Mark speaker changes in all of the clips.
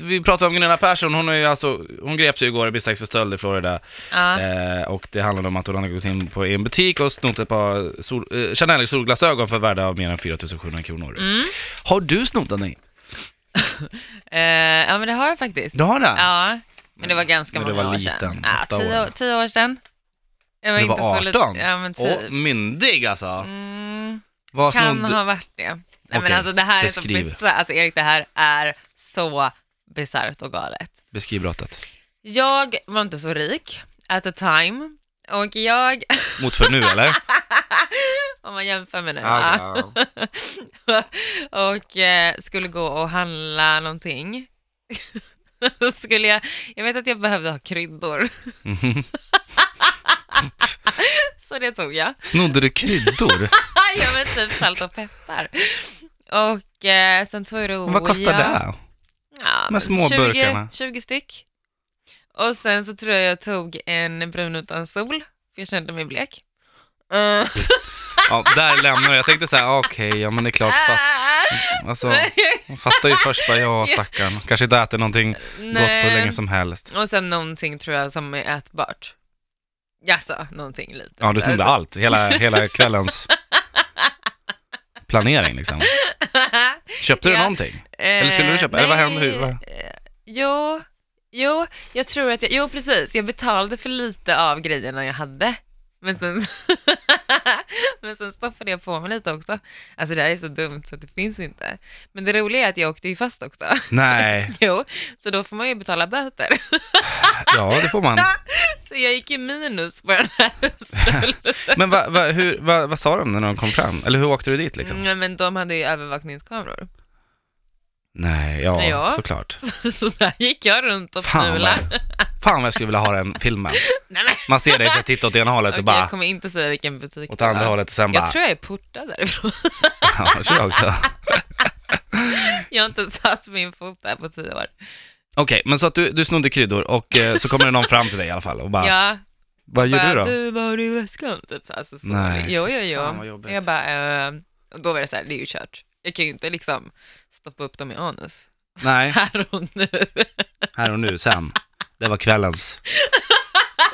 Speaker 1: vi pratade om Gunilla Persson, hon, är ju alltså, hon greps ju igår misstänkt för stöld i Florida.
Speaker 2: Ja.
Speaker 1: Eh, och det handlade om att hon hade gått in på i en butik och snott ett par sol, eh, Chanel solglasögon för värde av mer än 4 700 kronor.
Speaker 2: Mm.
Speaker 1: Har du snott en ny?
Speaker 2: Eh, ja, men det har jag faktiskt.
Speaker 1: Du har det?
Speaker 2: Ja, men det var ganska
Speaker 1: Men du
Speaker 2: många
Speaker 1: var
Speaker 2: år
Speaker 1: liten,
Speaker 2: sedan. Ja,
Speaker 1: åtta
Speaker 2: tio,
Speaker 1: år.
Speaker 2: år. tio år sedan. Jag var
Speaker 1: du
Speaker 2: inte
Speaker 1: var
Speaker 2: så
Speaker 1: 18?
Speaker 2: liten. Ja, men typ.
Speaker 1: Åh, myndig alltså!
Speaker 2: mm,
Speaker 1: Vad
Speaker 2: kan
Speaker 1: snodde...
Speaker 2: ha varit det. Nej, men
Speaker 1: Okej,
Speaker 2: alltså det här är
Speaker 1: beskriv.
Speaker 2: så bisarrt. Alltså Erik, det här är så bisarrt och galet.
Speaker 1: Beskriv brottet.
Speaker 2: Jag var inte så rik at the time och jag,
Speaker 1: Mot för nu eller?
Speaker 2: om man jämför med nu, va?
Speaker 1: Ah, ja.
Speaker 2: och eh, skulle gå och handla någonting. Då skulle jag, jag vet att jag behövde ha kryddor,
Speaker 1: Mhm.
Speaker 2: så det tog jag.
Speaker 1: Snodde du kryddor?
Speaker 2: jag vet typ salt och peppar. Och eh, sen tog jag
Speaker 1: Men Vad kostar det?
Speaker 2: Oh, Ja,
Speaker 1: De här små
Speaker 2: 20,
Speaker 1: burkarna.
Speaker 2: 20 styck. Och sen så tror jag jag tog en brun utan sol, för jag kände mig blek. Eh,
Speaker 1: Ja, där lämnar jag. Jag tänkte så här, okej, ja men det är klart. Fatt, alltså, man fattar ju först bara, ja stackarn. Kanske inte äter någonting gott på hur länge som helst.
Speaker 2: Och sen någonting tror jag som är ätbart. Jaså, någonting litet.
Speaker 1: Ja, du snodde
Speaker 2: Alltså-
Speaker 1: allt. Hela, hela kvällens planering liksom. Köpte du
Speaker 2: Ja.
Speaker 1: någonting? Eller skulle du köpa? Eller vad hände? Hur- vad-
Speaker 2: Eh, Jo, jo, jag tror att jag, jo precis, jag betalade för lite av grejerna jag hade. Men sen, men sen stoppade jag på mig lite också. Alltså det här är så dumt så att det finns inte. Men det roliga är att jag åkte ju fast också.
Speaker 1: Nej,
Speaker 2: Jo, så då får man ju betala böter.
Speaker 1: ja det får man.
Speaker 2: Så jag gick ju minus på den här stölden.
Speaker 1: Men va, va, hur, va, vad sa de när de kom fram? Eller hur åkte du dit liksom?
Speaker 2: Nej, Men de hade ju övervakningskameror.
Speaker 1: Nej, ja,
Speaker 2: Ja.
Speaker 1: såklart.
Speaker 2: Så där gick jag runt och
Speaker 1: Fan
Speaker 2: fulade.
Speaker 1: vad, fan vad jag skulle vilja ha den filmen.
Speaker 2: Nej, men-
Speaker 1: Man ser dig så här, titta åt ena hållet
Speaker 2: Okej,
Speaker 1: och bara,
Speaker 2: jag kommer inte säga vilken butik
Speaker 1: åt andra
Speaker 2: var.
Speaker 1: hållet och sen bara,
Speaker 2: Jag tror jag är portad därifrån.
Speaker 1: ja, det tror jag också.
Speaker 2: Jag har inte satt min fot där på tio år.
Speaker 1: Okej, men så att du, du snodde kryddor och eh, så kommer det någon fram till dig i alla fall och bara,
Speaker 2: Ja,
Speaker 1: vad gjorde
Speaker 2: bara,
Speaker 1: du då?
Speaker 2: du vad har du i väskan? Typ. Alltså, så.
Speaker 1: Nej,
Speaker 2: Jo, jo, jo.
Speaker 1: fan vad jobbigt.
Speaker 2: jag bara, eh, och då var det så här, det är ju kört. Jag kan ju inte liksom stoppa upp dem i anus.
Speaker 1: Nej,
Speaker 2: Här och nu.
Speaker 1: här och nu, sen. Det var kvällens.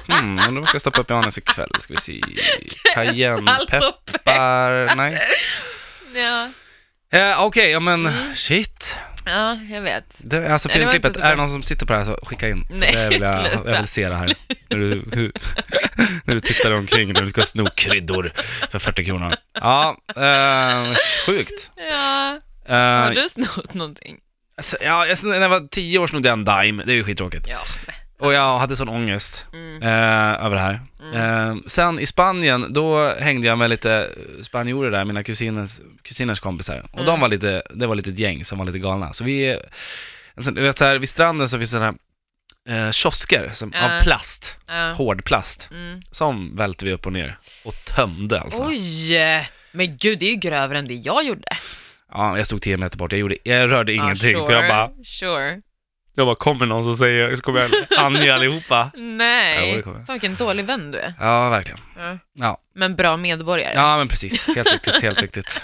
Speaker 1: Hmm, undrar vad jag ska stoppa upp i anus ikväll, ska vi se.
Speaker 2: Salt
Speaker 1: Cayennepeppar,
Speaker 2: och peppar.
Speaker 1: nej.
Speaker 2: Ja.
Speaker 1: Eh, Okej, ja men shit.
Speaker 2: ja, jag vet.
Speaker 1: Det, alltså
Speaker 2: Nej, det var
Speaker 1: filmklippet,
Speaker 2: inte så
Speaker 1: är det
Speaker 2: bra.
Speaker 1: någon som sitter på det här så skicka in.
Speaker 2: Nej,
Speaker 1: det vill jag,
Speaker 2: sluta.
Speaker 1: jag vill se det här. När du, hur, när du tittar omkring, när du ska sno kryddor för 40 kronor. Ja, eh, sjukt.
Speaker 2: Ja.
Speaker 1: Eh,
Speaker 2: Har du snott någonting?
Speaker 1: alltså, ja, jag, snod- när jag var 10 år snodde jag en Dime, det är ju skittråkigt.
Speaker 2: Ja.
Speaker 1: Och jag hade sån ångest
Speaker 2: Mm.
Speaker 1: eh, över det här. Eh, sen i Spanien, då hängde jag med lite spanjorer där, mina kusiners, kusiners kompisar. Och
Speaker 2: Mm.
Speaker 1: de var lite, det var lite ett gäng som var lite galna. Så vi, alltså, du vet så här, vid stranden så finns det sådana här eh, kiosker som, av
Speaker 2: Ja.
Speaker 1: plast,
Speaker 2: Ja.
Speaker 1: hård plast.
Speaker 2: Mm.
Speaker 1: Som välte vi upp och ner och tömde alltså.
Speaker 2: Oj! Men gud, det är ju grövre än det jag gjorde.
Speaker 1: Ja, jag stod 10 meter bort, jag, gjorde, jag rörde ingenting.
Speaker 2: Ja, Ah, sure,
Speaker 1: För jag bara,
Speaker 2: Sure.
Speaker 1: jag bara, kommer någon som säger, så kommer jag anja allihopa. Jo,
Speaker 2: Nej,
Speaker 1: det kommer
Speaker 2: fan
Speaker 1: jag.
Speaker 2: vilken dålig vän du är.
Speaker 1: Ja, verkligen.
Speaker 2: Ja.
Speaker 1: Ja.
Speaker 2: Men bra medborgare.
Speaker 1: Ja, men precis. Helt riktigt, helt riktigt.